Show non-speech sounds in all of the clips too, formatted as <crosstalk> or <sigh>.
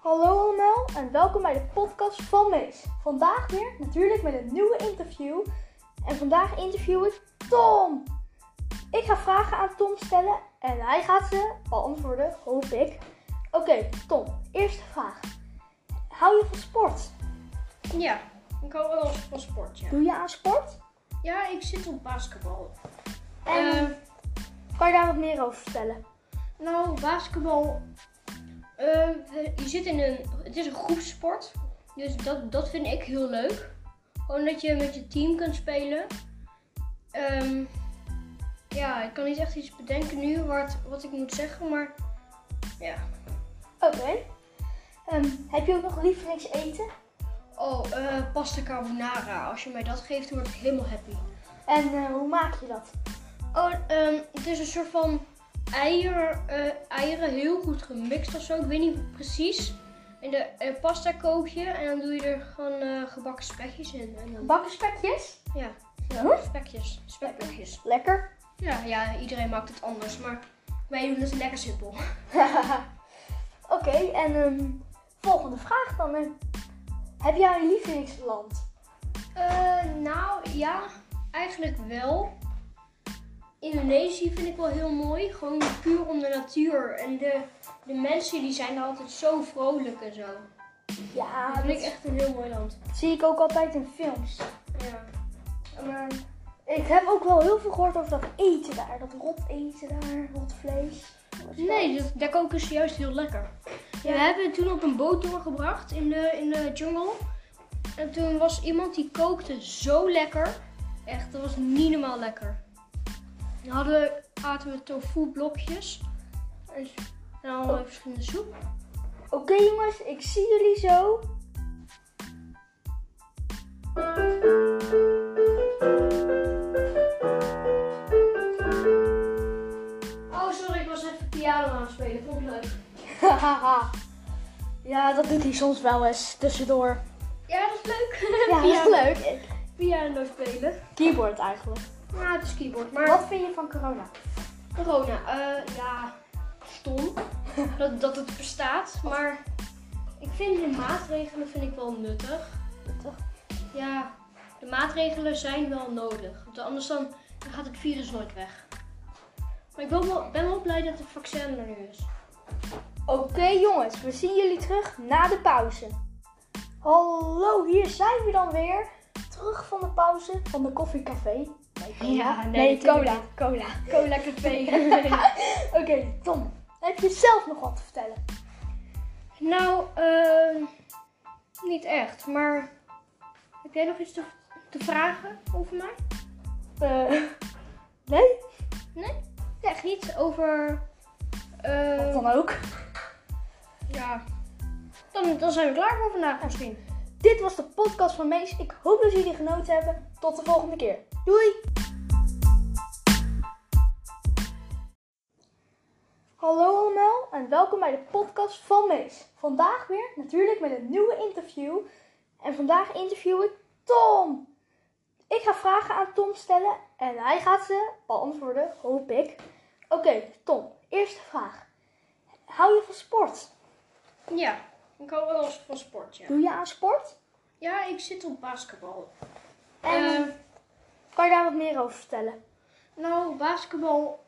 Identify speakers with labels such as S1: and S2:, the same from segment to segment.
S1: Hallo allemaal en welkom bij de podcast van Mees. Vandaag weer natuurlijk met een nieuwe interview. En vandaag interview ik Tom. Ik ga vragen aan Tom stellen en hij gaat ze beantwoorden, hoop ik. Oké, Tom, eerste vraag. Hou je van sport?
S2: Ja, ik hou wel van sport, ja.
S1: Doe je aan sport?
S2: Ja, ik zit op basketbal.
S1: En
S2: Eh,
S1: kan je daar wat meer over vertellen?
S2: nou, basketbal... eh, we- je zit in een... Het is een groepssport. Dus dat, dat vind ik heel leuk. Gewoon dat je met je team kunt spelen. Ehm, ja, ik kan niet echt iets bedenken nu wat, wat ik moet zeggen, maar... Ja.
S1: Oké. Ehm, heb je ook nog lievelingseten?
S2: Oh, eh, pasta carbonara. Als je mij dat geeft, word ik helemaal happy.
S1: En eh, hoe maak je dat?
S2: Oh, ehm, het is een soort van eier, eh, eieren heel goed gemixt of zo. Ik weet niet precies. En de eh, pasta kook je en dan doe je er gewoon eh, gebakken spekjes in. En dan,
S1: Bakken spekjes?
S2: ja,
S1: Huh?
S2: spekjes, spekblokjes.
S1: Lekker.
S2: Ja, ja, iedereen maakt het anders, maar wij doen het lekker simpel.
S1: Oké, <laughs> en ehm, volgende vraag dan. hè. Heb jij een lievelingsland?
S2: Eh, nou ja, eigenlijk wel. Indonesië vind ik wel heel mooi. Gewoon puur om de natuur. En de, de mensen die zijn altijd zo vrolijk en zo.
S1: Ja,
S2: Dat
S1: dat
S2: vind ik echt een heel mooi land.
S1: zie ik ook altijd in films.
S2: Ja. Maar
S1: Ik heb ook wel heel veel gehoord over dat eten daar. Dat rot eten daar, rot vlees.
S2: nee, dat, dat koken is juist heel lekker. We hebben het toen op een boot doorgebracht in de, in de jungle. En toen was iemand die kookte zo lekker. Echt, dat was niet normaal lekker. Dan hadden we, aten we Dus tofu blokjes. En en allerlei verschillende soep.
S1: Oké jongens, ik zie jullie zo. <laughs>
S2: Oh, sorry, ik was even piano aan het spelen. Vond ik leuk.
S1: ja, dat doet hij soms wel eens tussendoor.
S2: Ja, dat is
S1: <laughs>
S2: leuk.
S1: Ja, dat is
S2: Piano-
S1: leuk.
S2: Piano spelen.
S1: Keyboard eigenlijk.
S2: Ja, het is keyboard, maar...
S1: Wat vind je van corona?
S2: Corona, eh, ja, stom <laughs> dat, dat het bestaat, maar ik vind de maatregelen vind ik wel nuttig. Ja, de maatregelen zijn wel nodig, want anders dan, dan gaat het virus nooit weg. Maar ik ben wel, ben wel blij dat het vaccin er nu is.
S1: Oké jongens, we zien jullie terug na de pauze. Hallo, hier zijn we dan weer. Terug van de pauze van de koffiecafé.
S2: Ja, nee,
S1: nee
S2: natuurlijk
S1: cola, cola.
S2: Cola café.
S1: Oké, Tom, heb je zelf nog wat te vertellen?
S2: <laughs> nou, eh, niet echt, maar heb jij nog iets te, te vragen over mij?
S1: Eh, nee,
S2: Nee, echt niet over... eh,
S1: wat dan ook.
S2: Ja. Dan, dan zijn we klaar voor vandaag misschien.
S1: Dit was de podcast van Mees. Ik hoop dat jullie genoten hebben. Tot de volgende keer. Doei! Hallo allemaal en welkom bij de podcast van Mees. Vandaag weer natuurlijk met een nieuwe interview. En vandaag interview ik Tom. Ik ga vragen aan Tom stellen en hij gaat ze beantwoorden, hoop ik. Oké, Tom, eerste vraag. Hou je van sport?
S2: Ja, ik hou wel eens van sport, ja.
S1: Doe je aan sport?
S2: Ja, ik zit op basketbal.
S1: En
S2: Eh,
S1: kan je daar wat meer over vertellen?
S2: nou, basketbal...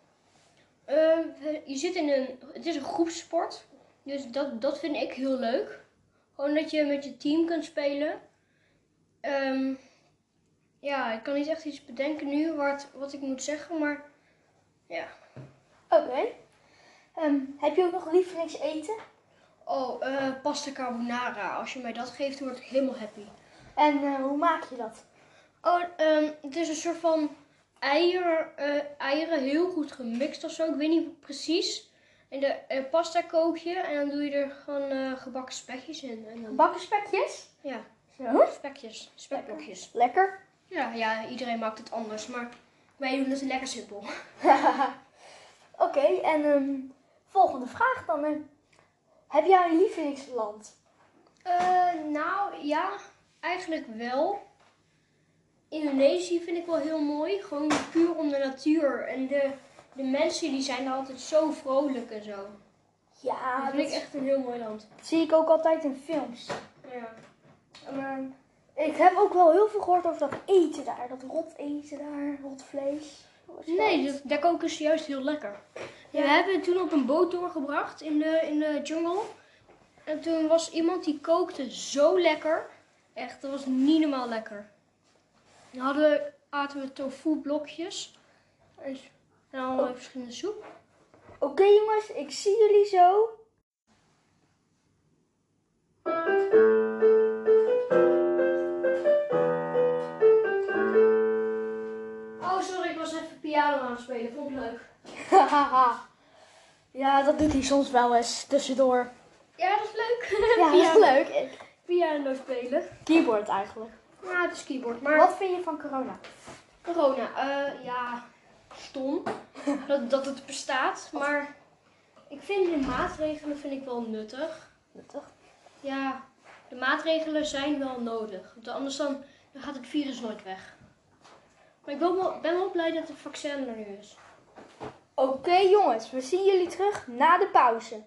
S2: eh, we- je zit in een... Het is een groepssport. Dus dat, dat vind ik heel leuk. Gewoon dat je met je team kunt spelen. Ehm, ja, ik kan niet echt iets bedenken nu wat, wat ik moet zeggen, maar... Ja.
S1: Oké. Ehm, heb je ook nog lievelingseten?
S2: Oh, eh, pasta carbonara. Als je mij dat geeft, word ik helemaal happy.
S1: En eh, hoe maak je dat?
S2: Oh, ehm, het is een soort van eier, eh, eieren heel goed gemixt of zo. Ik weet niet precies. En de eh, pasta kook je en dan doe je er gewoon eh, gebakken spekjes in. En dan,
S1: Bakken spekjes?
S2: ja,
S1: Zo.
S2: spekjes, spekblokjes.
S1: Lekker. <laughs>
S2: Ja, ja, iedereen maakt het anders, maar wij doen het lekker simpel.
S1: Oké, en ehm, volgende vraag dan. hè. heb jij een lievelingsland?
S2: Eh, nou ja, eigenlijk wel. Indonesië vind ik wel heel mooi. Gewoon puur om de natuur. En de, de mensen die zijn altijd zo vrolijk en zo.
S1: Ja,
S2: dat
S1: dat,
S2: vind ik echt een heel mooi land.
S1: zie ik ook altijd in films. Ehm,
S2: Ja. Maar
S1: Ik heb ook wel heel veel gehoord over dat eten daar. Dat rot eten daar, rot vlees. Wat is
S2: Nee,
S1: dat?
S2: dat, daar koken ze juist heel lekker.
S1: Ja.
S2: We hebben het toen op een boot doorgebracht in de, in de jungle. En toen was iemand die kookte zo lekker. Echt, dat was niet normaal lekker. Dan hadden we, aten we tofu blokjes. En dan hadden we verschillende soep.
S1: Oké jongens, ik zie jullie zo. <laughs>
S2: Oh, sorry, ik was even piano aan het spelen. Vond ik leuk.
S1: ja, dat doet hij soms wel eens tussendoor.
S2: Ja, dat is leuk.
S1: Ja,
S2: <laughs>
S1: dat is <laughs> leuk.
S2: Piano spelen.
S1: Keyboard eigenlijk.
S2: Ja, het is keyboard. Maar
S1: Wat vind je van corona?
S2: Corona, eh, ja, stom <laughs> dat, dat het bestaat. Maar ik vind de maatregelen vind ik wel nuttig.
S1: Nuttig.
S2: Ja, de maatregelen zijn wel nodig. Want anders dan, dan gaat het virus nooit weg. Maar ik ben wel, ben wel blij dat het vaccin er nu is.
S1: Oké jongens, we zien jullie terug na de pauze.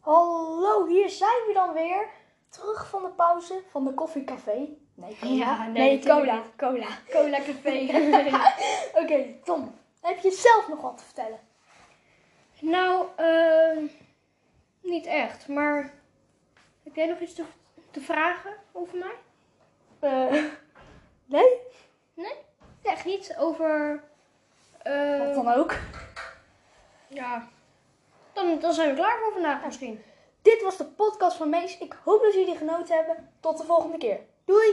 S1: Hallo, hier zijn we dan weer. Terug van de pauze van de koffiecafé. Nee, cola.
S2: Ja, nee,
S1: nee
S2: natuurlijk
S1: cola, cola.
S2: Cola café.
S1: Oké, Tom, heb je zelf nog wat te vertellen?
S2: <laughs> nou, eh, niet echt. Maar heb jij nog iets te, te vragen over mij?
S1: Eh, nee?
S2: Nee? Echt niet over... eh,
S1: Wat dan ook.
S2: Ja. Dan, dan zijn we klaar voor vandaag misschien.
S1: Dit was de podcast van Mees. Ik hoop dat jullie genoten hebben. Tot de volgende keer. Doei!